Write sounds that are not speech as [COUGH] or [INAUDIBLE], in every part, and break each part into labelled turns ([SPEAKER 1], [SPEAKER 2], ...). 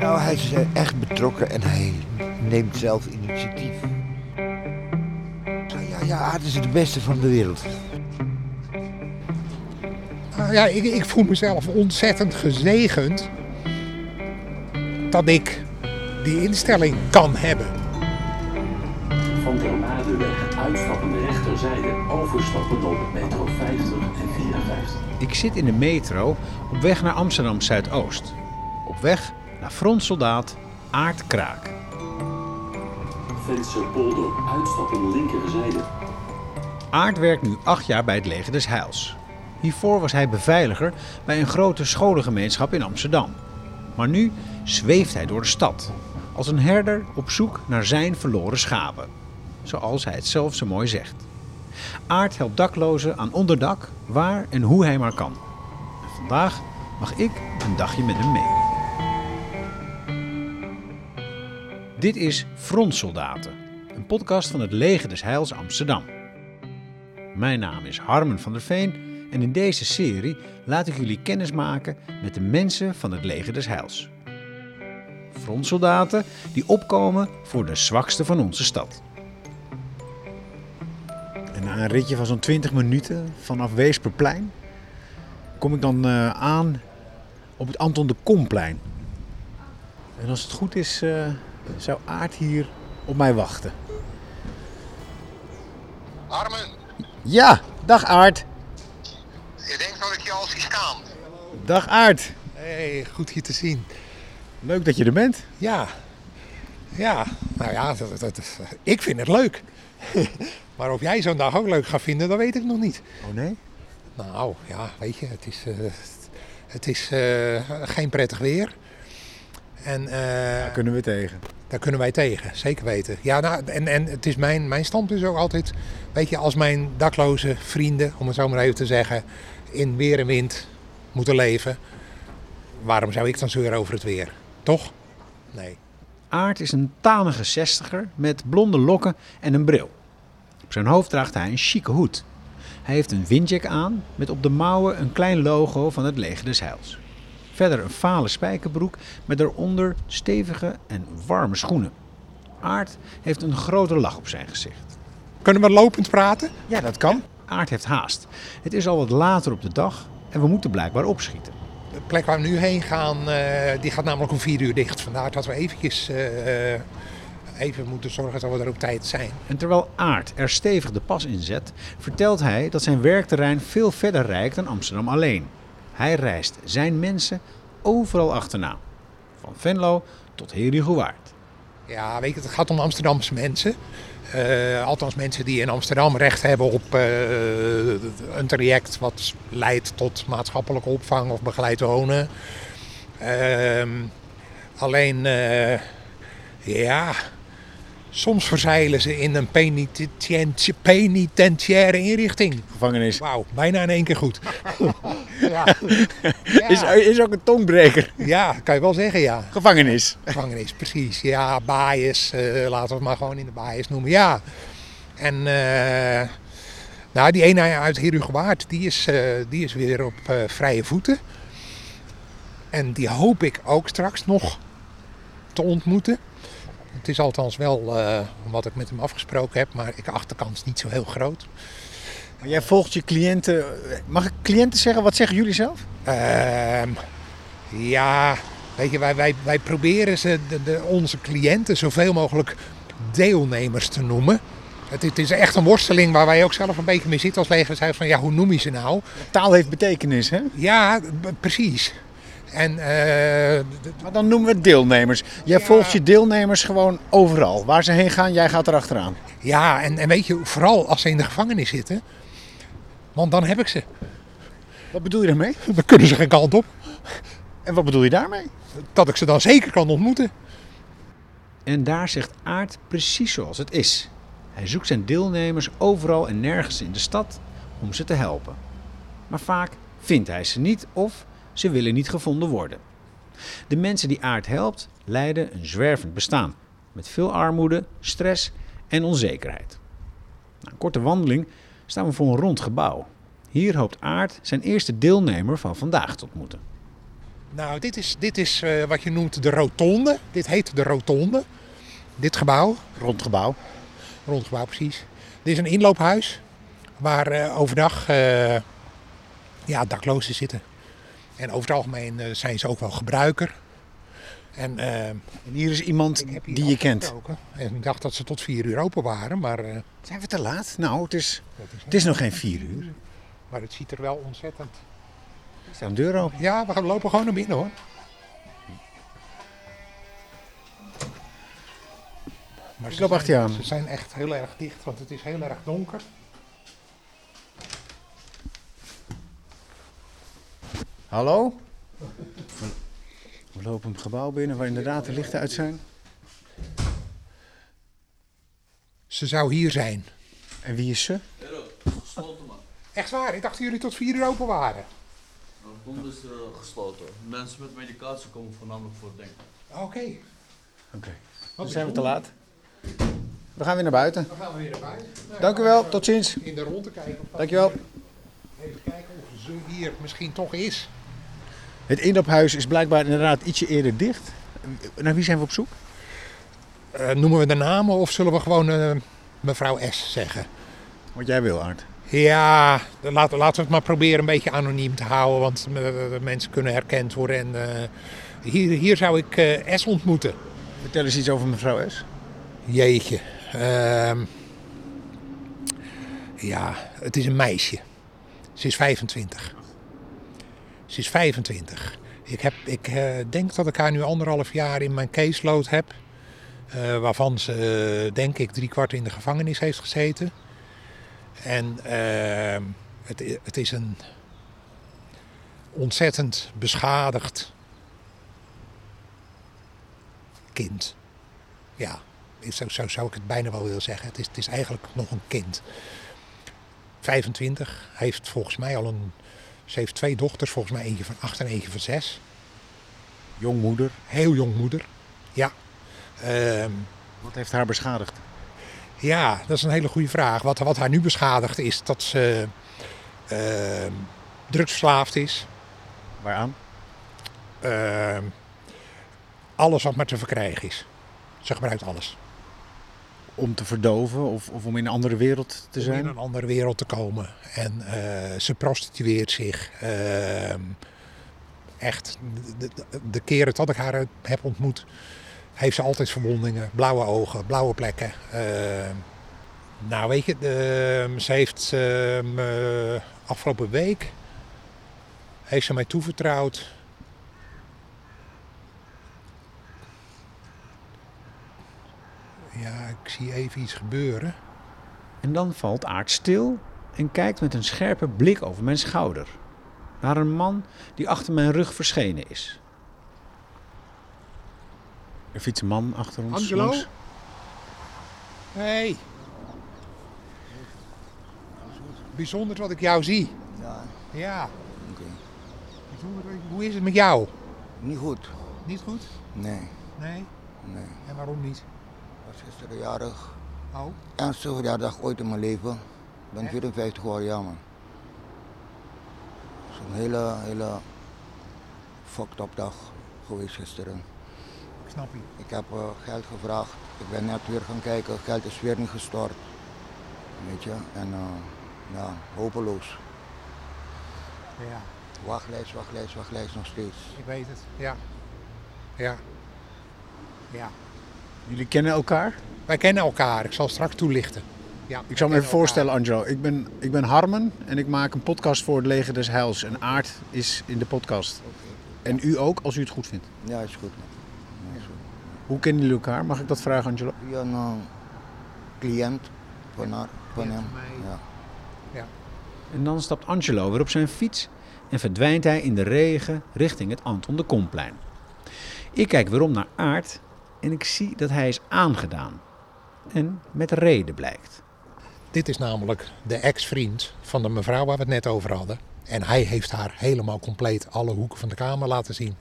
[SPEAKER 1] hij is eh, echt betrokken en hij neemt zelf initiatief. Ja, ja, ja Aad is het beste van de wereld.
[SPEAKER 2] Nou ja, ik, ik voel mezelf ontzettend gezegend dat ik die instelling kan hebben.
[SPEAKER 3] Van der Maardenweg uitstappende rechterzijde, overstappen op metro 50 en 54.
[SPEAKER 4] Ik zit in de metro op weg naar Amsterdam Zuidoost. Op weg naar frontsoldaat Aart Kraak.
[SPEAKER 3] Vensterpolder, uitstappen linkerzijde.
[SPEAKER 4] Aart werkt nu acht jaar bij het leger des Heils. Hiervoor was hij beveiliger bij een grote scholengemeenschap in Amsterdam. Maar nu zweeft hij door de stad, als een herder op zoek naar zijn verloren schapen. Zoals hij het zelf zo mooi zegt. Aart helpt daklozen aan onderdak, waar en hoe hij maar kan. En vandaag mag ik een dagje met hem mee. Dit is Frontsoldaten, een podcast van het Leger des Heils Amsterdam. Mijn naam is Harmen van der Veen en in deze serie laat ik jullie kennis maken met de mensen van het leger des Heils. Frontsoldaten die opkomen voor de zwakste van onze stad. En na een ritje van zo'n 20 minuten vanaf Weesperplein kom ik dan eh, aan op het Anton de Komplein. En als het goed is, eh, zou Aard hier op mij wachten.
[SPEAKER 5] Harmen,
[SPEAKER 4] Ja, dag Aard.
[SPEAKER 5] je denkt dat ik je al zie staan.
[SPEAKER 4] Dag Aard.
[SPEAKER 2] Hey, goed je te zien.
[SPEAKER 4] Leuk dat je er bent.
[SPEAKER 2] Ja, ja, nou ja, dat, dat- dat- ik vind het leuk. [LAUGHS] maar of jij zo'n dag ook leuk gaat vinden, dat weet ik nog niet.
[SPEAKER 4] Oh nee?
[SPEAKER 2] Nou ja, weet je, het is, eh, het is eh, geen prettig weer. En eh,
[SPEAKER 4] Kunnen we tegen.
[SPEAKER 2] Daar kunnen wij tegen, zeker weten. Ja, nou, en, en het is mijn, mijn standpunt is ook altijd, weet je, als mijn dakloze vrienden, om het zo maar even te zeggen, in weer en wind moeten leven, waarom zou ik dan zeuren over het weer? Toch? Nee.
[SPEAKER 4] Aard is een tanige zestiger met blonde lokken en een bril. Op zijn hoofd draagt hij een chique hoed. Hij heeft een windjack aan met op de mouwen een klein logo van het leger des Heils. Verder een fale spijkerbroek met daaronder stevige en warme schoenen. Aard heeft een grote lach op zijn gezicht.
[SPEAKER 2] Kunnen we lopend praten?
[SPEAKER 4] Ja, dat kan. Aard heeft haast. Het is al wat later op de dag en we moeten blijkbaar opschieten.
[SPEAKER 2] De plek waar we nu heen gaan, eh, die gaat namelijk om vier uur dicht. Vandaar dat we eventjes, eh, eh, even moeten zorgen dat we er op tijd zijn.
[SPEAKER 4] En terwijl Aard er stevig de pas in zet, vertelt hij dat zijn werkterrein veel verder reikt dan Amsterdam alleen. Hij reist zijn mensen overal achterna. Van Venlo tot Herigowaard.
[SPEAKER 2] Ja, weet je, het gaat om Amsterdamse mensen. Eh, althans, mensen die in Amsterdam recht hebben op eh, een traject wat leidt tot maatschappelijke opvang of begeleid wonen. Ehm, alleen, eh, ja, soms verzeilen ze in een penitentië- penitentiaire inrichting.
[SPEAKER 4] Gevangenis.
[SPEAKER 2] Wauw, bijna in één keer goed. [LAUGHS] ja. Ja.
[SPEAKER 4] is ook een tongbreker. [LAUGHS]
[SPEAKER 2] ja, kan je wel zeggen, ja.
[SPEAKER 4] Gevangenis.
[SPEAKER 2] Gevangenis, precies. Ja, baaiers, eh, laten we het maar gewoon in de baaiers noemen. Ja. En eh, nou, die ene uit Herugewaard, die is, eh, die is weer op eh, vrije voeten. En die hoop ik ook straks nog te ontmoeten. Het is althans wel eh, wat ik met hem afgesproken heb, maar ik acht de kans niet zo heel groot.
[SPEAKER 4] Jij volgt je cliënten. Mag ik cliënten zeggen? Wat zeggen jullie zelf?
[SPEAKER 2] Ehm, ja, weet je, wij, wij, wij proberen ze, de, de- onze cliënten zoveel mogelijk deelnemers te noemen. Het, het is echt een worsteling waar wij ook zelf een beetje mee zitten als leger. Zij van ja, hoe noem je ze nou?
[SPEAKER 4] Taal heeft betekenis, hè?
[SPEAKER 2] Ja, b- precies. En eh, d-
[SPEAKER 4] Maar dan noemen we het deelnemers. Jij
[SPEAKER 2] Ja.
[SPEAKER 4] volgt je deelnemers gewoon overal. Waar ze heen gaan, jij gaat erachteraan.
[SPEAKER 2] ja, en, en weet je, vooral als ze in de gevangenis zitten, want dan heb ik ze.
[SPEAKER 4] Wat bedoel je daarmee?
[SPEAKER 2] Dan kunnen ze geen kant op.
[SPEAKER 4] En wat bedoel je daarmee?
[SPEAKER 2] Dat ik ze dan zeker kan ontmoeten.
[SPEAKER 4] En daar zegt Aard precies zoals het is. Hij zoekt zijn deelnemers overal en nergens in de stad om ze te helpen. Maar vaak vindt hij ze niet of ze willen niet gevonden worden. De mensen die Aard helpt leiden een zwervend bestaan met veel armoede, stress en onzekerheid. Na een korte wandeling staan we voor een rond gebouw. Hier hoopt Aard zijn eerste deelnemer van vandaag te ontmoeten.
[SPEAKER 2] Nou, dit is, dit is eh, wat je noemt de rotonde. Dit heet de rotonde. Dit gebouw,
[SPEAKER 6] Rondgebouw.
[SPEAKER 2] rondgebouw precies. Dit is een inloophuis waar eh, overdag eh, ja, daklozen zitten. En over het algemeen eh, zijn ze ook wel gebruiker. En eh,
[SPEAKER 6] En hier is iemand
[SPEAKER 2] ik heb hier
[SPEAKER 6] die je kent.
[SPEAKER 2] afgesproken. En ik dacht dat ze tot vier uur open waren, maar, eh,
[SPEAKER 6] Zijn we te laat? Nou, het is,
[SPEAKER 2] dat is
[SPEAKER 6] het is nog geen vier uur.
[SPEAKER 2] maar het ziet er wel ontzettend.
[SPEAKER 6] Er staat een deur open.
[SPEAKER 2] Ja, we gaan lopen gewoon naar binnen hoor. Maar
[SPEAKER 6] Ik loop achter je
[SPEAKER 2] zijn-
[SPEAKER 6] aan.
[SPEAKER 2] Ze zijn echt heel erg dicht, want het is heel erg donker.
[SPEAKER 6] Hallo? We lopen een gebouw binnen waar inderdaad de lichten uit zijn.
[SPEAKER 2] Ze zou hier zijn.
[SPEAKER 6] En wie is ze?
[SPEAKER 7] Gesloten man.
[SPEAKER 2] Echt waar, ik dacht dat jullie tot vier uur open waren.
[SPEAKER 7] De grond is eh, gesloten. Mensen met medicatie komen voornamelijk voor denken.
[SPEAKER 2] Oké,
[SPEAKER 6] Oké. Dan zijn we te laat. We gaan weer naar buiten.
[SPEAKER 2] dan gaan we weer naar buiten. Nou,
[SPEAKER 6] Dank u wel, tot ziens.
[SPEAKER 2] In de ronde kijken. of dat
[SPEAKER 6] Dankjewel.
[SPEAKER 2] hier- Even kijken of ze hier misschien toch is.
[SPEAKER 6] Het inloophuis is blijkbaar inderdaad ietsje eerder dicht. Naar wie zijn we op zoek?
[SPEAKER 2] Eh, noemen we de namen of zullen we gewoon eh, mevrouw S zeggen?
[SPEAKER 6] Wat jij wil, Art.
[SPEAKER 2] Ja, dan laten, laten we het maar proberen een beetje anoniem te houden, want eh, mensen kunnen herkend worden. En eh, hier, hier zou ik eh, S ontmoeten.
[SPEAKER 6] Vertel eens iets over mevrouw S.
[SPEAKER 2] Jeetje. Ehm, ja, het is een meisje. Ze is 25. Ze is 25. Ik, heb, ik eh, denk dat ik haar nu anderhalf jaar in mijn caseload heb. eh, waarvan ze, eh, denk ik, drie kwart in de gevangenis heeft gezeten. En ehm, het, i- het is een ontzettend beschadigd kind. Ja, is- zo, zo zou ik het bijna wel willen zeggen. Het is, het is eigenlijk nog een kind. 25, heeft volgens mij al een... Ze heeft twee dochters, volgens mij eentje van acht en eentje van zes.
[SPEAKER 6] Jongmoeder.
[SPEAKER 2] Heel jong moeder, ja. Ehm,
[SPEAKER 6] Wat heeft haar beschadigd?
[SPEAKER 2] ja, dat is een hele goede vraag. Wat, wat haar nu beschadigt is dat ze ehm, drugsverslaafd is.
[SPEAKER 6] Waaraan?
[SPEAKER 2] Ehm, alles wat maar te verkrijgen is. Ze gebruikt alles.
[SPEAKER 6] Om te verdoven of, of om in een andere wereld te
[SPEAKER 2] om in
[SPEAKER 6] zijn?
[SPEAKER 2] een andere wereld te komen. En eh, ze prostitueert zich. Ehm, echt, de, de, de keren dat ik haar heb ontmoet, heeft ze altijd verwondingen, blauwe ogen, blauwe plekken. Ehm, nou, weet je, ehm, ze heeft ehm, eh, afgelopen week heeft ze mij toevertrouwd. Ja, ik zie even iets gebeuren.
[SPEAKER 4] En dan valt Aart stil en kijkt met een scherpe blik over mijn schouder. Naar een man die achter mijn rug verschenen is.
[SPEAKER 6] Er fietst een man achter ons.
[SPEAKER 2] Angelo?
[SPEAKER 6] langs.
[SPEAKER 2] Hey. Bijzonder dat ik jou zie.
[SPEAKER 1] Ja,
[SPEAKER 2] Ja.
[SPEAKER 1] oké.
[SPEAKER 2] Bijzonder dat ik- Hoe is het met jou?
[SPEAKER 1] Niet goed.
[SPEAKER 2] Niet goed?
[SPEAKER 1] Nee,
[SPEAKER 2] Nee.
[SPEAKER 1] nee.
[SPEAKER 2] En waarom niet?
[SPEAKER 1] Ik was gisteren jarig.
[SPEAKER 2] Oh.
[SPEAKER 1] Ernstige verjaardag ooit in mijn leven. Ik ben 54 jaar, ja man. Het is een hele, hele fucked up dag geweest gisteren.
[SPEAKER 2] Ik snap je.
[SPEAKER 1] Ik heb eh, geld gevraagd. Ik ben net weer gaan kijken. Geld is weer niet gestort. Weet je? En eh, ja, hopeloos.
[SPEAKER 2] Ja.
[SPEAKER 1] Wachtlijst, wachtlijst, wachtlijst nog steeds.
[SPEAKER 2] Ik weet het. Ja. Ja. Ja.
[SPEAKER 6] Jullie kennen elkaar?
[SPEAKER 2] Wij kennen elkaar. Ik zal straks toelichten. Ja,
[SPEAKER 6] Ik zal me even voorstellen, Angelo. Ik ben, ik ben Harmen en ik maak een podcast voor het Leger des Heils. En Aard is in de podcast. En u ook, als u het goed vindt.
[SPEAKER 1] Ja, is goed. man. Ja, is goed.
[SPEAKER 6] Hoe kennen jullie elkaar? Mag ik dat vragen, Angelo?
[SPEAKER 1] Via een eh, cliënt van, haar, van hem. Ja.
[SPEAKER 4] En dan stapt Angelo weer op zijn fiets en verdwijnt hij in de regen richting het Anton de Komplein. Ik kijk weer om naar Aard en ik zie dat hij is aangedaan. En met reden blijkt.
[SPEAKER 2] Dit is namelijk de ex-vriend van de mevrouw waar we het net over hadden. En hij heeft haar helemaal compleet alle hoeken van de kamer laten zien.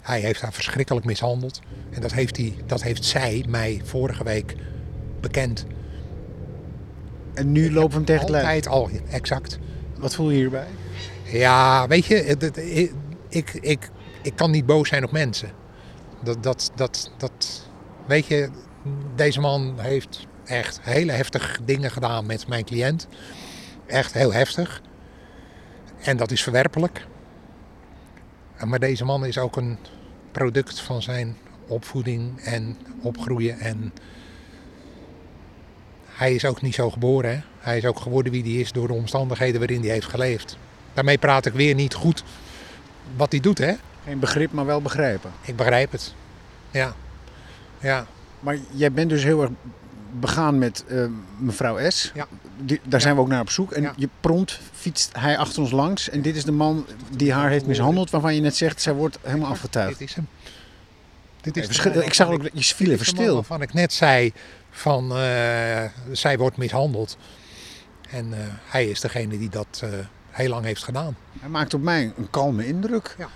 [SPEAKER 2] Hij heeft haar verschrikkelijk mishandeld. En dat heeft, hij, dat heeft zij mij vorige week bekend.
[SPEAKER 6] En nu lopen we hem tegen het lijf.
[SPEAKER 2] Altijd al, exact.
[SPEAKER 6] Wat voel je hierbij?
[SPEAKER 2] Ja, weet je, het- het- ik, ik, ik kan niet boos zijn op mensen. Dat, dat, dat, dat, weet je, deze man heeft echt hele heftige dingen gedaan met mijn cliënt. Echt heel heftig. En dat is verwerpelijk. En Maar deze man is ook een product van zijn opvoeding en opgroeien. En hij is ook niet zo geboren. Hè? Hij is ook geworden wie hij is door de omstandigheden waarin hij heeft geleefd. Daarmee praat ik weer niet goed wat hij doet, hè?
[SPEAKER 4] Geen begrip, maar wel begrijpen.
[SPEAKER 2] Ik begrijp het. Ja. Ja.
[SPEAKER 4] Maar jij bent dus heel erg begaan met eh, mevrouw S.
[SPEAKER 2] Ja.
[SPEAKER 4] Die- daar zijn we ook naar op zoek. En
[SPEAKER 2] Ja.
[SPEAKER 4] je prompt fietst hij achter ons langs. En dit is de man die haar heeft mishandeld, waarvan je net zegt, zij wordt helemaal afgetuigd.
[SPEAKER 2] Dit is hem. Dit
[SPEAKER 4] Het
[SPEAKER 2] is
[SPEAKER 4] verschil- Ik zag ook, dat je viel even
[SPEAKER 2] Is de man
[SPEAKER 4] stil.
[SPEAKER 2] Waarvan ik net zei van eh, zij wordt mishandeld. En eh, hij is degene die dat eh, heel lang heeft gedaan.
[SPEAKER 4] Hij maakt op mij een kalme indruk.
[SPEAKER 2] Ja.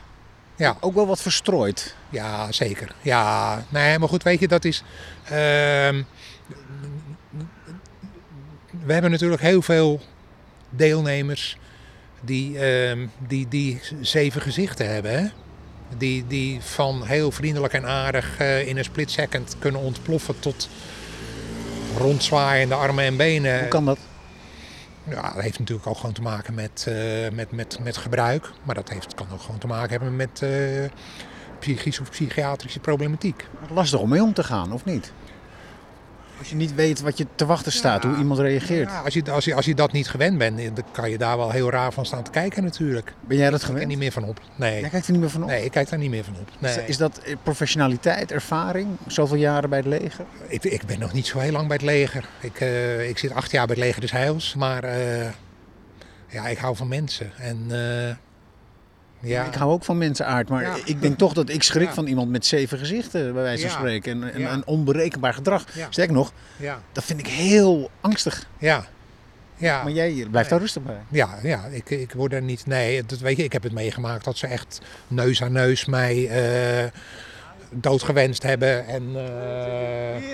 [SPEAKER 2] Ja.
[SPEAKER 4] Ook wel wat verstrooid.
[SPEAKER 2] Ja, zeker. Ja, nee, maar goed, weet je, dat is. ehm, we hebben natuurlijk heel veel deelnemers die, ehm, die, die zeven gezichten hebben. Hè? Die, die van heel vriendelijk en aardig eh, in een split second kunnen ontploffen tot rondzwaaiende armen en benen.
[SPEAKER 4] Hoe kan dat?
[SPEAKER 2] Ja, dat heeft natuurlijk ook gewoon te maken met, eh, met, met, met gebruik. Maar dat heeft, kan ook gewoon te maken hebben met eh, psychische of psychiatrische problematiek.
[SPEAKER 4] Lastig om mee om te gaan, of niet? Als je niet weet wat je te wachten staat, hoe iemand reageert.
[SPEAKER 2] Ja, als, je, als, je, als je dat niet gewend bent, eh, dan kan je daar wel heel raar van staan te kijken natuurlijk.
[SPEAKER 4] Ben jij dat
[SPEAKER 2] Ik ben
[SPEAKER 4] gewend?
[SPEAKER 2] niet meer van op. Nee.
[SPEAKER 4] Jij kijkt er niet meer van op.
[SPEAKER 2] nee, ik kijk daar niet meer van op. Nee.
[SPEAKER 4] Is- Is dat eh, professionaliteit, ervaring? Zoveel jaren bij het leger?
[SPEAKER 2] Ik, ik ben nog niet zo heel lang bij het leger. Ik, eh, ik zit acht jaar bij het leger des Heils. Maar eh, ja, ik hou van mensen. En eh, ja,
[SPEAKER 4] Ik hou ook van mensen aard, maar
[SPEAKER 2] Ja.
[SPEAKER 4] ik denk toch dat ik schrik
[SPEAKER 2] Ja.
[SPEAKER 4] van iemand met zeven gezichten, bij wijze van
[SPEAKER 2] Ja.
[SPEAKER 4] spreken. En, en
[SPEAKER 2] Ja.
[SPEAKER 4] een onberekenbaar gedrag.
[SPEAKER 2] Ja.
[SPEAKER 4] Sterker nog,
[SPEAKER 2] ja,
[SPEAKER 4] dat vind ik heel angstig.
[SPEAKER 2] ja. ja.
[SPEAKER 4] Maar jij blijft daar rustig bij.
[SPEAKER 2] Ja, ja ik, ik word er niet. Nee, dat weet je, ik heb het meegemaakt dat ze echt neus aan neus mij eh, doodgewenst hebben. En, eh,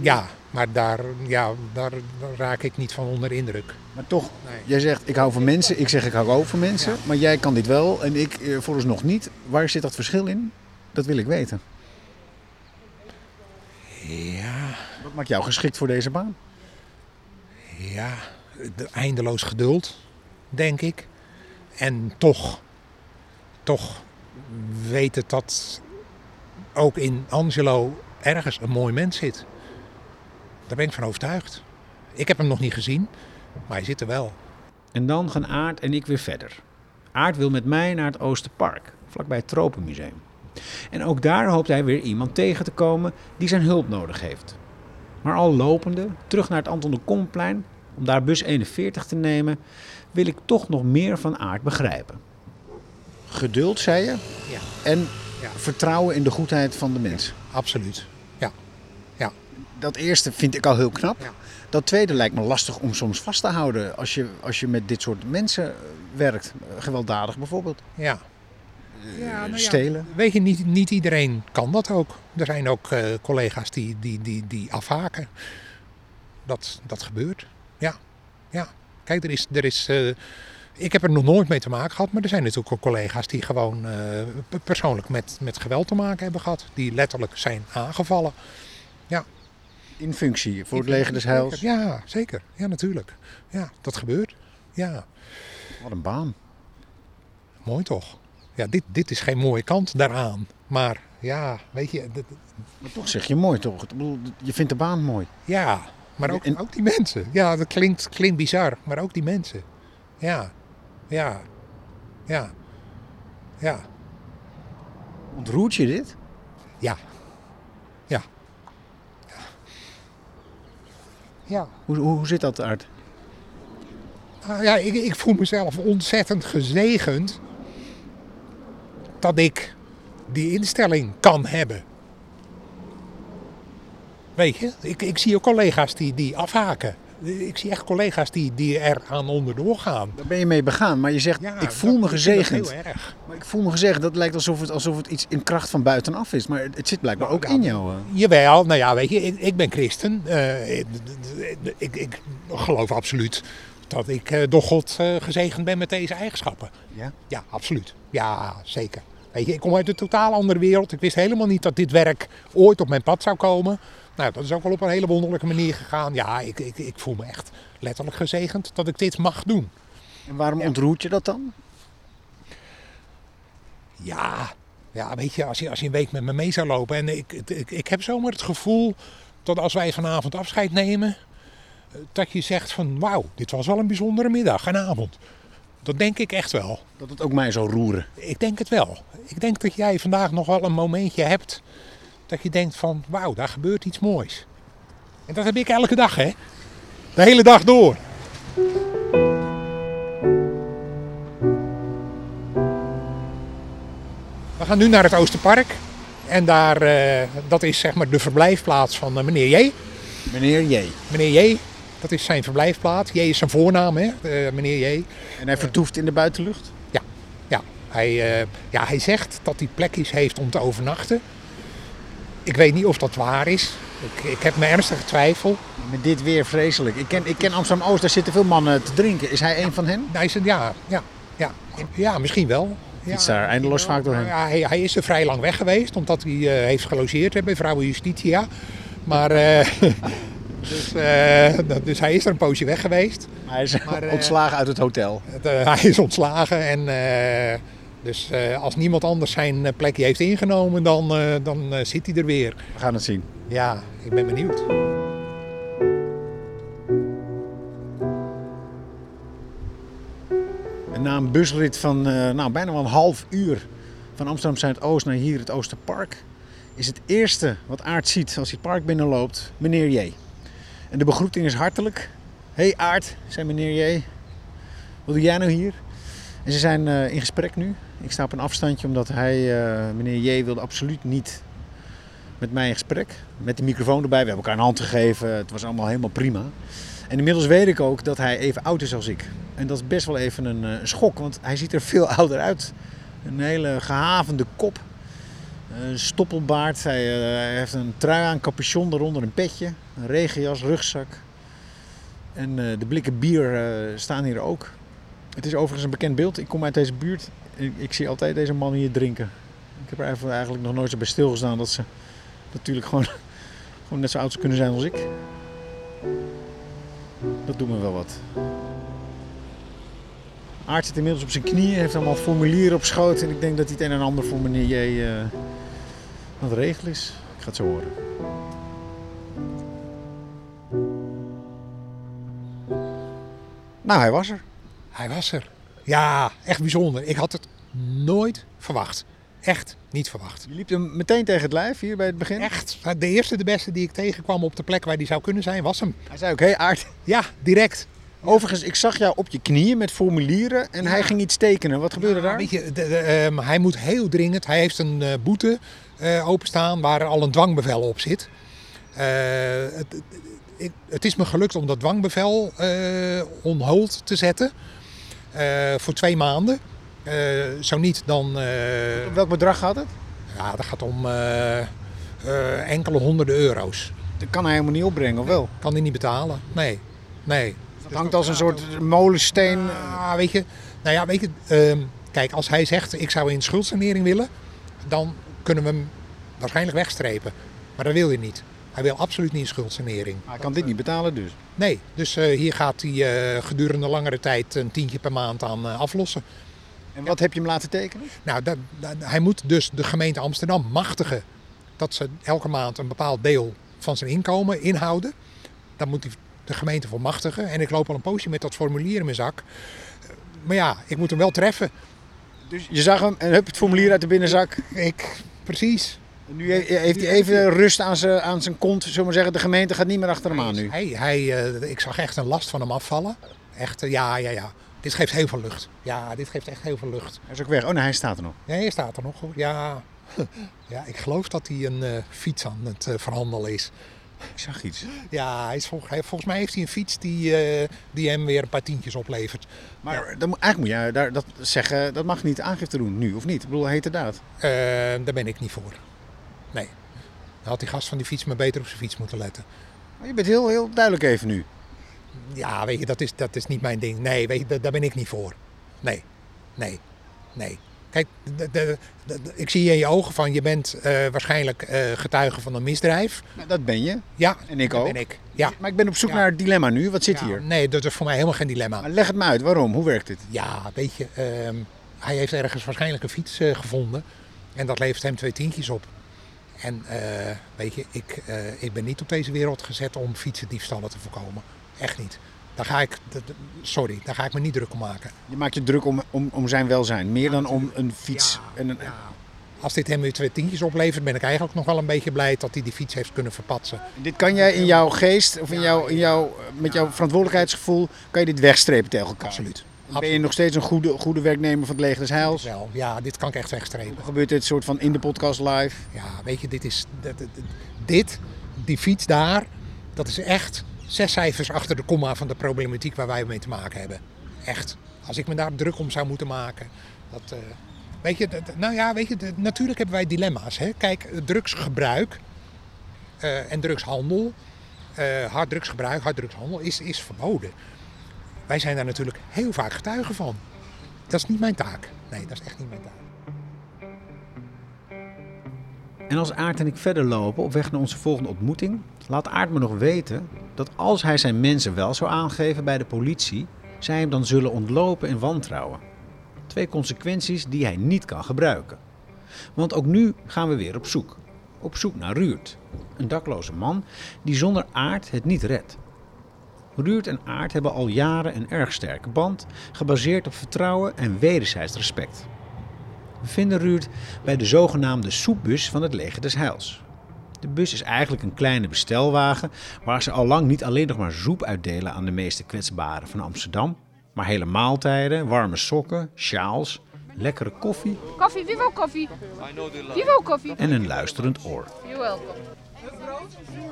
[SPEAKER 2] ja, maar daar, ja, daar, daar raak ik niet van onder indruk.
[SPEAKER 4] Maar toch,
[SPEAKER 2] Nee.
[SPEAKER 4] jij zegt ik hou van mensen, ik zeg ik hou ook van mensen. Maar jij kan dit wel en ik eh, vooralsnog niet. Waar zit dat verschil in? Dat wil ik weten.
[SPEAKER 2] Ja,
[SPEAKER 4] Wat maakt jou geschikt voor deze baan?
[SPEAKER 2] ja. de- Eindeloos geduld, denk ik. En toch, toch weet het dat ook in Angelo ergens een mooi mens zit. Daar ben ik van overtuigd. Ik heb hem nog niet gezien, maar hij zit er wel.
[SPEAKER 8] En dan gaan Aart en ik weer verder. Aart wil met mij naar het Oosterpark, vlakbij het Tropenmuseum. En ook daar hoopt hij weer iemand tegen te komen die zijn hulp nodig heeft. Maar al lopende, terug naar het Anton de Komplein, om daar bus 41 te nemen, wil ik toch nog meer van Aart begrijpen.
[SPEAKER 4] Geduld, zei je.
[SPEAKER 2] Ja.
[SPEAKER 4] En
[SPEAKER 2] Ja.
[SPEAKER 4] vertrouwen in de goedheid van de mens.
[SPEAKER 2] Absoluut. Ja. Ja.
[SPEAKER 4] Dat eerste vind ik al heel knap.
[SPEAKER 2] Ja.
[SPEAKER 4] Dat tweede lijkt me lastig om soms vast te houden als je, als je met dit soort mensen eh, werkt. Eh, Gewelddadig bijvoorbeeld.
[SPEAKER 2] ja. nou
[SPEAKER 4] Eh, Stelen.
[SPEAKER 2] Weet je, niet, niet iedereen kan dat ook. Er zijn ook eh, collega's die, die, die, die afhaken. Dat, dat gebeurt. Ja. ja. Kijk, er is. Er is eh, ik heb er nog nooit mee te maken gehad, maar er zijn natuurlijk ook collega's die gewoon eh, pe- persoonlijk met, met geweld te maken hebben gehad. Die letterlijk zijn aangevallen.
[SPEAKER 4] In functie voor het leger des heils.
[SPEAKER 2] Ja, zeker. Ja, natuurlijk. Ja, dat gebeurt. Ja.
[SPEAKER 4] Wat een baan.
[SPEAKER 2] Mooi toch? Ja, dit, dit is geen mooie kant daaraan. Maar ja, weet je, dat-
[SPEAKER 4] Maar toch zeg je mooi toch? Ik bedoel, Je vindt de baan mooi.
[SPEAKER 2] ja, maar ook,
[SPEAKER 4] En-
[SPEAKER 2] ook die mensen. Ja, dat klinkt, klinkt bizar, maar ook die mensen. Ja, ja, ja, ja,
[SPEAKER 4] Ontroert je dit?
[SPEAKER 2] ja, ja, ja.
[SPEAKER 4] Hoe, hoe, hoe zit dat, Art?
[SPEAKER 2] Nou ja, ik, ik voel mezelf ontzettend gezegend dat ik die instelling kan hebben. Weet je, ik, ik zie ook collega's die, die afhaken. Ik zie echt collega's die, die er aan onderdoor gaan.
[SPEAKER 4] Daar ben je mee begaan, maar je zegt,
[SPEAKER 2] Ja,
[SPEAKER 4] ik voel
[SPEAKER 2] dat-
[SPEAKER 4] me
[SPEAKER 2] ik vind dat
[SPEAKER 4] gezegend.
[SPEAKER 2] Heel erg.
[SPEAKER 4] Maar ik voel me gezegend, dat lijkt alsof het, alsof het iets in kracht van buitenaf is. Maar het, het zit blijkbaar
[SPEAKER 2] Nou,
[SPEAKER 4] ook in jou. hè?
[SPEAKER 2] Jawel, nou ja, weet je, ik, ik ben christen. Eh, ik, ik, ik geloof absoluut dat ik eh, door God eh, gezegend ben met deze eigenschappen.
[SPEAKER 4] Ja?
[SPEAKER 2] Ja, absoluut. Ja, zeker. Weet je, ik kom uit een totaal andere wereld. Ik wist helemaal niet dat dit werk ooit op mijn pad zou komen. Nou, dat is ook wel op een hele wonderlijke manier gegaan. Ja, ik, ik, ik voel me echt letterlijk gezegend dat ik dit mag doen.
[SPEAKER 4] En waarom ontroert je dat dan?
[SPEAKER 2] Ja, ja weet je als, je, als je een week met me mee zou lopen. En ik, ik, ik heb zomaar het gevoel dat als wij vanavond afscheid nemen, eh, dat je zegt van wauw, dit was wel een bijzondere middag en avond. Dat denk ik echt wel.
[SPEAKER 4] Dat het ook mij zou roeren.
[SPEAKER 2] Ik denk het wel. Ik denk dat jij vandaag nog wel een momentje hebt dat je denkt van wauw, daar gebeurt iets moois. En dat heb ik elke dag hè. De hele dag door. We gaan nu naar het Oosterpark. En daar, eh, dat is zeg maar de verblijfplaats van eh, meneer J.
[SPEAKER 4] Meneer J.
[SPEAKER 2] Meneer J, dat is zijn verblijfplaats. J is zijn voornaam, hè? eh, meneer J.
[SPEAKER 4] En hij vertoeft in de buitenlucht?
[SPEAKER 2] Ja, ja. Hij, eh, ja, hij zegt dat hij plekjes heeft om te overnachten. Ik weet niet of dat waar is. Ik, ik heb mijn ernstige twijfel.
[SPEAKER 4] Met dit weer vreselijk. Ik ken, ik ken Amsterdam-Oost, daar zitten veel mannen te drinken. Is hij een van hen?
[SPEAKER 2] Nou, is het, ja, ja, ja, ja, misschien wel. Ja,
[SPEAKER 4] Fietst daar eindeloos vaak doorheen.
[SPEAKER 2] Ja, hij, hij is er vrij lang weg geweest, omdat hij eh, heeft gelogeerd hè, bij Vrouwen Justitia. Maar, eh, [LAUGHS] dus, eh, dat- dus hij is er een poosje weg geweest.
[SPEAKER 4] Hij is [LAUGHS]
[SPEAKER 2] Maar, eh,
[SPEAKER 4] ontslagen uit het hotel.
[SPEAKER 2] Het, eh, hij is ontslagen en eh, dus eh, als niemand anders zijn eh, plekje heeft ingenomen, dan, eh, dan eh, zit hij er weer.
[SPEAKER 4] We gaan het zien.
[SPEAKER 2] Ja, ik ben benieuwd.
[SPEAKER 4] En na een busrit van eh, nou, bijna wel een half uur van Amsterdam Zuidoost naar hier het Oosterpark, is het eerste wat Aart ziet als hij het park binnenloopt, meneer J. En de begroeting is hartelijk. Hé hey Aart, zei meneer J. Wat doe jij nou hier? En ze zijn eh, in gesprek nu. Ik sta op een afstandje omdat hij, eh, meneer J, wilde absoluut niet met mij in gesprek. Met de microfoon erbij. We hebben elkaar een hand gegeven. Het was allemaal helemaal prima. En inmiddels weet ik ook dat hij even oud is als ik. En dat is best wel even een eh, schok, want hij ziet er [LAUGHS] veel ouder uit. Een hele gehavende kop. Een stoppelbaard. Hij, eh, hij heeft een trui aan, capuchon eronder, een petje. Een regenjas, rugzak. En eh, de blikken bier eh, staan hier ook. Het is overigens een bekend beeld. Ik kom uit deze buurt. Ik, ik zie altijd deze mannen hier drinken. Ik heb er eigenlijk- eigenlijk nog nooit zo bij stilgestaan dat ze natuurlijk gewoon, [LAUGHS] gewoon net zo oud kunnen zijn als ik. Dat doet me wel wat. Aart zit inmiddels op zijn knieën, heeft allemaal formulieren op schoot. En ik denk dat hij het een en ander voor meneer J eh, aan het regelen is. Ik ga het zo horen. Nou, hij was er.
[SPEAKER 2] Hij was er. Ja, echt bijzonder. Ik had het nooit verwacht. Echt niet verwacht.
[SPEAKER 4] Je liep hem meteen tegen het lijf hier bij het begin.
[SPEAKER 2] Echt. Nou, De eerste, de beste die ik tegenkwam op de plek waar die zou kunnen zijn, was hem.
[SPEAKER 4] Hij zei ook, hé Aart.
[SPEAKER 2] Ja, direct.
[SPEAKER 4] Overigens, ik zag jou op je knieën met formulieren en hij ging iets tekenen. Wat gebeurde daar?
[SPEAKER 2] Weet je, de- de, ehm, hij moet heel dringend. Hij heeft een eh, boete eh, openstaan waar al een dwangbevel op zit. Eh, het, het- ik- het is me gelukt om dat dwangbevel eh on hold te zetten. eh, voor twee maanden. Eh, zo niet, dan. eh,
[SPEAKER 4] Op welk bedrag gaat het?
[SPEAKER 2] Ja, dat gaat om eh, eh, enkele honderden euro's.
[SPEAKER 4] Dat kan hij helemaal niet opbrengen, of wel?
[SPEAKER 2] Kan die niet betalen? Nee. Nee.
[SPEAKER 4] Het hangt als een soort molensteen. eh,
[SPEAKER 2] Ah, weet je, nou ja, weet je, ehm, kijk, als hij zegt ik zou in schuldsanering willen, dan kunnen we hem waarschijnlijk wegstrepen. Maar dat wil hij niet. Hij wil absoluut niet in schuldsanering.
[SPEAKER 4] Hij kan dit niet betalen dus.
[SPEAKER 2] Nee, dus eh, hier gaat hij eh, gedurende langere tijd een tientje per maand aan eh, aflossen.
[SPEAKER 4] En wat heb je hem laten tekenen?
[SPEAKER 2] Nou, dat, dat- hij moet dus de gemeente Amsterdam machtigen dat ze elke maand een bepaald deel van zijn inkomen inhouden. Daar moet hij de gemeente voor machtigen. En ik loop al een poosje met dat formulier in mijn zak. Maar ja, ik moet hem wel treffen.
[SPEAKER 4] Dus je zag hem en hup, het formulier uit de binnenzak.
[SPEAKER 2] Ik, precies.
[SPEAKER 4] En nu he- heeft hij even rust aan zijn, aan zijn kont, zullen we maar zeggen. De gemeente gaat niet meer achter hem aan nu.
[SPEAKER 2] Hij, hij, eh, ik zag echt een last van hem afvallen. Echt, eh, ja, ja, ja. Dit geeft heel veel lucht. Ja, dit geeft echt heel veel lucht.
[SPEAKER 4] Hij is ook weg. Oh nee, hij staat er nog.
[SPEAKER 2] Nee, hij staat er nog. hoor. Ja. [LAUGHS] ja, ik geloof dat hij een eh, fiets aan het eh, verhandelen is.
[SPEAKER 4] Ik zag iets.
[SPEAKER 2] Ja, hij is vol- hij- volgens mij heeft hij een fiets die, eh, die hem weer een paar tientjes oplevert.
[SPEAKER 4] Maar dan, moet- eigenlijk moet jij daar, dat zeggen, dat mag niet aangifte doen nu, of niet? Ik bedoel, heet de daad.
[SPEAKER 2] Eh, daar ben ik niet voor. Nee. Dan had die gast van die fiets maar beter op zijn fiets moeten letten.
[SPEAKER 4] Maar je bent heel, heel duidelijk even nu.
[SPEAKER 2] Ja, weet je, dat is, dat is niet mijn ding. Nee, weet je, da- daar ben ik niet voor. Nee. Nee. Nee. Kijk, de, de, de- de- ik zie in je ogen van je bent eh, waarschijnlijk eh, getuige van een misdrijf.
[SPEAKER 6] Nou, dat ben je.
[SPEAKER 2] Ja,
[SPEAKER 6] En ik
[SPEAKER 2] dat
[SPEAKER 6] ook.
[SPEAKER 2] ben ik. Ja.
[SPEAKER 6] Maar ik ben op zoek
[SPEAKER 2] Ja.
[SPEAKER 6] naar het dilemma nu. Wat zit
[SPEAKER 2] Ja,
[SPEAKER 6] hier?
[SPEAKER 2] Nee, dat is voor mij helemaal geen dilemma.
[SPEAKER 6] Maar leg het me uit. Waarom? Hoe werkt dit?
[SPEAKER 2] Ja, weet je, ehm, hij heeft ergens waarschijnlijk een fiets eh, gevonden. En dat levert hem twee tientjes op. En eh, weet je, ik, eh, ik ben niet op deze wereld gezet om fietsendiefstallen te voorkomen. Echt niet. Daar ga ik, d- d- sorry, daar ga ik me niet druk om maken.
[SPEAKER 6] Je maakt je druk om, om, om zijn welzijn. Meer dan om een fiets.
[SPEAKER 2] Ja,
[SPEAKER 6] en een,
[SPEAKER 2] ja. Als dit hem weer twee tientjes oplevert, ben ik eigenlijk nog wel een beetje blij dat hij die fiets heeft kunnen verpatsen.
[SPEAKER 6] Dit kan jij in jouw geest of in jouw, in jouw, met jouw verantwoordelijkheidsgevoel kan je dit wegstrepen tegen elkaar.
[SPEAKER 2] Absoluut.
[SPEAKER 6] Dan ben je nog steeds een goede, goede werknemer van het leger des Heils.
[SPEAKER 2] Wel, ja, dit kan ik echt wegstrepen.
[SPEAKER 6] Dan gebeurt dit soort van in de podcast live.
[SPEAKER 2] Ja, weet je, dit is. Dit, dit- dit, die fiets daar, dat is echt zes cijfers achter de komma van de problematiek waar wij mee te maken hebben. Echt. Als ik me daar druk om zou moeten maken. Dat, eh, weet je, dat- nou ja, weet je, dat- natuurlijk hebben wij dilemma's. Hè? Kijk, eh, drugsgebruik eh, en drugshandel. eh hard drugsgebruik, hard drugshandel is, is verboden. Wij zijn daar natuurlijk heel vaak getuigen van. Dat is niet mijn taak. Nee, dat is echt niet mijn taak.
[SPEAKER 4] En als Aart en ik verder lopen op weg naar onze volgende ontmoeting, laat Aart me nog weten dat als hij zijn mensen wel zou aangeven bij de politie, zij hem dan zullen ontlopen en wantrouwen. Twee consequenties die hij niet kan gebruiken. Want ook nu gaan we weer op zoek. Op zoek naar Ruurt, een dakloze man die zonder Aart het niet redt. Ruurt en Aart hebben al jaren een erg sterke band, gebaseerd op vertrouwen en wederzijds respect. We vinden Ruud bij de zogenaamde soepbus van het leger des Heils. De bus is eigenlijk een kleine bestelwagen waar ze al lang niet alleen nog maar soep uitdelen aan de meeste kwetsbaren van Amsterdam, maar hele maaltijden, warme sokken, sjaals, lekkere koffie
[SPEAKER 9] Koffie, wie wil koffie? Wie wil koffie?
[SPEAKER 4] en een luisterend oor.
[SPEAKER 9] You're welcome.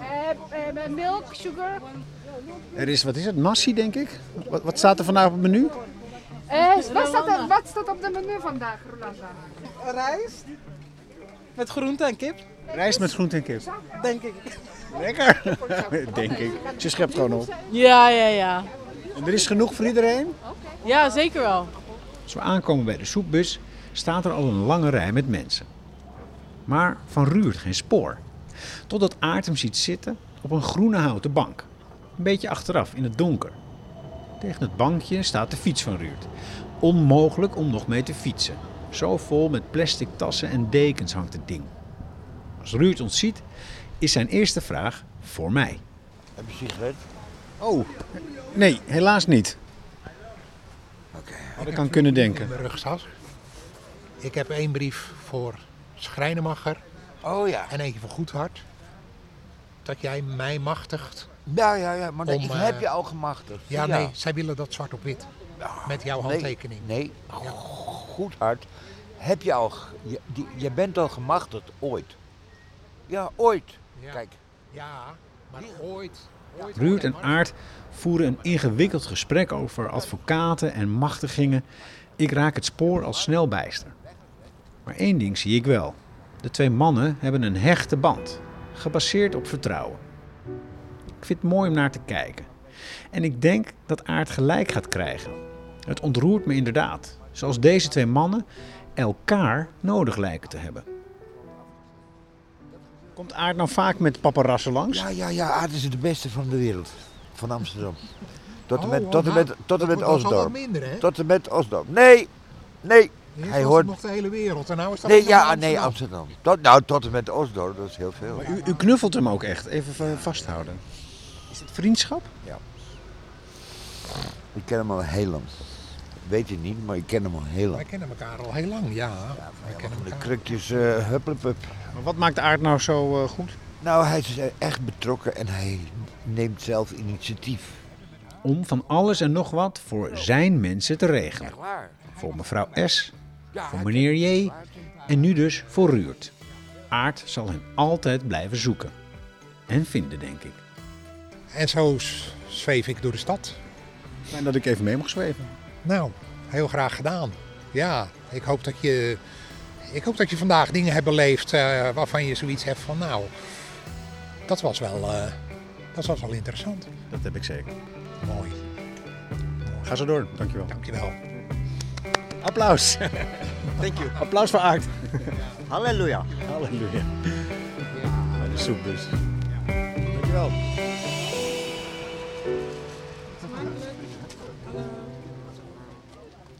[SPEAKER 9] Eh, eh, milk, sugar.
[SPEAKER 6] Er is, wat is het, nasi denk ik? Wat, wat staat er vandaag op het menu?
[SPEAKER 9] Eh, wat, staat er, wat staat op de menu vandaag, Rolanda?
[SPEAKER 10] Rijst. Met groente en kip,
[SPEAKER 6] Rijst met groente en kip.
[SPEAKER 10] denk ik.
[SPEAKER 6] Lekker,
[SPEAKER 4] [LAUGHS]
[SPEAKER 6] denk ik. Ze schept gewoon op.
[SPEAKER 10] Ja, ja, ja.
[SPEAKER 6] En er is genoeg voor iedereen?
[SPEAKER 10] Ja, zeker wel.
[SPEAKER 4] Als we aankomen bij de soepbus, staat er al een lange rij met mensen. Maar van Ruurt geen spoor. Totdat Aart hem ziet zitten op een groene houten bank. Een beetje achteraf in het donker. Tegen het bankje staat de fiets van Ruurt. Onmogelijk om nog mee te fietsen. Zo vol met plastic tassen en dekens hangt het ding. Als Ruurt ons ziet, is zijn eerste vraag voor mij.
[SPEAKER 1] Heb je sigaret?
[SPEAKER 6] Oh, nee, helaas niet. Had ik aan kunnen
[SPEAKER 2] in
[SPEAKER 6] denken.
[SPEAKER 2] mijn rugzak. Ik heb één brief voor Schrijnemacher
[SPEAKER 1] Oh ja.
[SPEAKER 2] en eentje voor Goedhart. Dat jij mij machtigt.
[SPEAKER 1] Ja, ja, ja. Maar
[SPEAKER 2] Om,
[SPEAKER 1] ik
[SPEAKER 2] eh,
[SPEAKER 1] heb je al gemachtigd.
[SPEAKER 2] Ja, nee, zij willen dat zwart op wit.
[SPEAKER 11] Nou,
[SPEAKER 2] Met jouw handtekening.
[SPEAKER 1] Nee, nee. goed hart. Heb je al, ge- je, die- je bent al gemachtigd ooit. Ja, ooit.
[SPEAKER 2] Ja.
[SPEAKER 1] Kijk,
[SPEAKER 2] Ja, maar ooit. ooit
[SPEAKER 4] Ruurt en Aard voeren een ingewikkeld gesprek over advocaten en machtigingen. Ik raak het spoor al snel bijster. Maar één ding zie ik wel. De twee mannen hebben een hechte band, gebaseerd op vertrouwen. Ik vind het mooi om naar te kijken. En ik denk dat Aard gelijk gaat krijgen. Het ontroert me inderdaad, zoals deze twee mannen elkaar nodig lijken te hebben.
[SPEAKER 6] Komt Aard nou vaak met paparazzen langs?
[SPEAKER 11] Ja, ja, ja, Aard is de beste van de wereld. Van Amsterdam. Tot en
[SPEAKER 2] Oh,
[SPEAKER 11] met,
[SPEAKER 2] oh,
[SPEAKER 11] tot en
[SPEAKER 2] nou,
[SPEAKER 11] met, tot en
[SPEAKER 2] dat
[SPEAKER 11] met
[SPEAKER 2] wordt nog wel
[SPEAKER 11] Osdorp.
[SPEAKER 2] wat minder, hè?
[SPEAKER 11] Tot en met Osdorp. Nee, nee.
[SPEAKER 2] Eerst
[SPEAKER 11] Hij
[SPEAKER 2] was
[SPEAKER 11] hoort.
[SPEAKER 2] het nog de hele wereld en nou is dat
[SPEAKER 11] Nee,
[SPEAKER 2] alleen maar
[SPEAKER 11] ja, nee, Amsterdam. Tot, nou, tot en met Osdorp, dat is heel veel.
[SPEAKER 6] U, u knuffelt hem ook echt. Even va- vasthouden. Is het vriendschap?
[SPEAKER 11] Ik ken hem al heel lang. Weet je niet, maar ik ken hem al heel
[SPEAKER 2] Wij
[SPEAKER 11] lang.
[SPEAKER 2] kennen elkaar al heel lang, ja. Wij kennen
[SPEAKER 11] Van de
[SPEAKER 2] elkaar.
[SPEAKER 11] krukjes, eh hupplepup.
[SPEAKER 6] Maar wat maakt Aard nou zo eh, goed?
[SPEAKER 11] Nou, hij is eh, echt betrokken en hij neemt zelf initiatief.
[SPEAKER 4] Om van alles en nog wat voor zijn mensen te regelen.
[SPEAKER 11] Waar?
[SPEAKER 4] voor mevrouw S, voor meneer J en nu dus voor Ruurt. Aard zal hem altijd blijven zoeken. En vinden, denk ik.
[SPEAKER 2] En zo s- zweef ik door de stad.
[SPEAKER 6] Fijn dat ik even mee mag zweven.
[SPEAKER 2] Nou, heel graag gedaan. Ja, ik hoop dat je, ik hoop dat je vandaag dingen hebt beleefd eh, waarvan je zoiets hebt van nou, dat was wel, eh, dat was wel interessant.
[SPEAKER 6] Dat heb ik zeker.
[SPEAKER 2] Mooi,
[SPEAKER 6] Ga zo door. Dankjewel.
[SPEAKER 2] dankjewel.
[SPEAKER 6] Applaus. [LAUGHS]
[SPEAKER 12] Thank you.
[SPEAKER 6] Applaus voor Aard.
[SPEAKER 12] Halleluja.
[SPEAKER 6] [LAUGHS] Halleluja. De soep dus.
[SPEAKER 12] Dankjewel.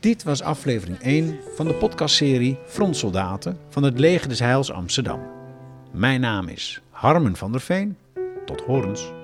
[SPEAKER 4] Dit was aflevering 1 van de podcastserie Frontsoldaten van het Leger des Heils Amsterdam. Mijn naam is Harmen van der Veen. Tot horens.